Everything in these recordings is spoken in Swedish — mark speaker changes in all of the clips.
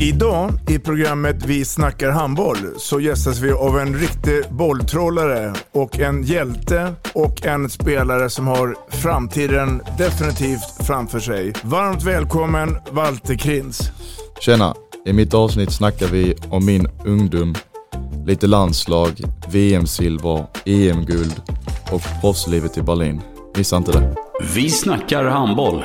Speaker 1: Idag i programmet Vi snackar handboll så gästas vi av en riktig bolltrollare och en hjälte och en spelare som har framtiden definitivt framför sig. Varmt välkommen Walter Krins.
Speaker 2: Tjena! I mitt avsnitt snackar vi om min ungdom, lite landslag, VM-silver, EM-guld E och proffslivet i Berlin. Missa inte det.
Speaker 3: Vi snackar handboll.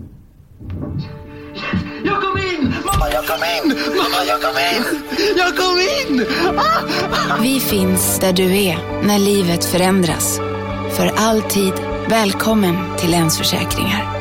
Speaker 4: Jag kom in! Mamma, jag kom in! Mamma, jag kom in! Jag kom in! Ah!
Speaker 5: Vi finns där du är när livet förändras. För alltid välkommen till Länsförsäkringar.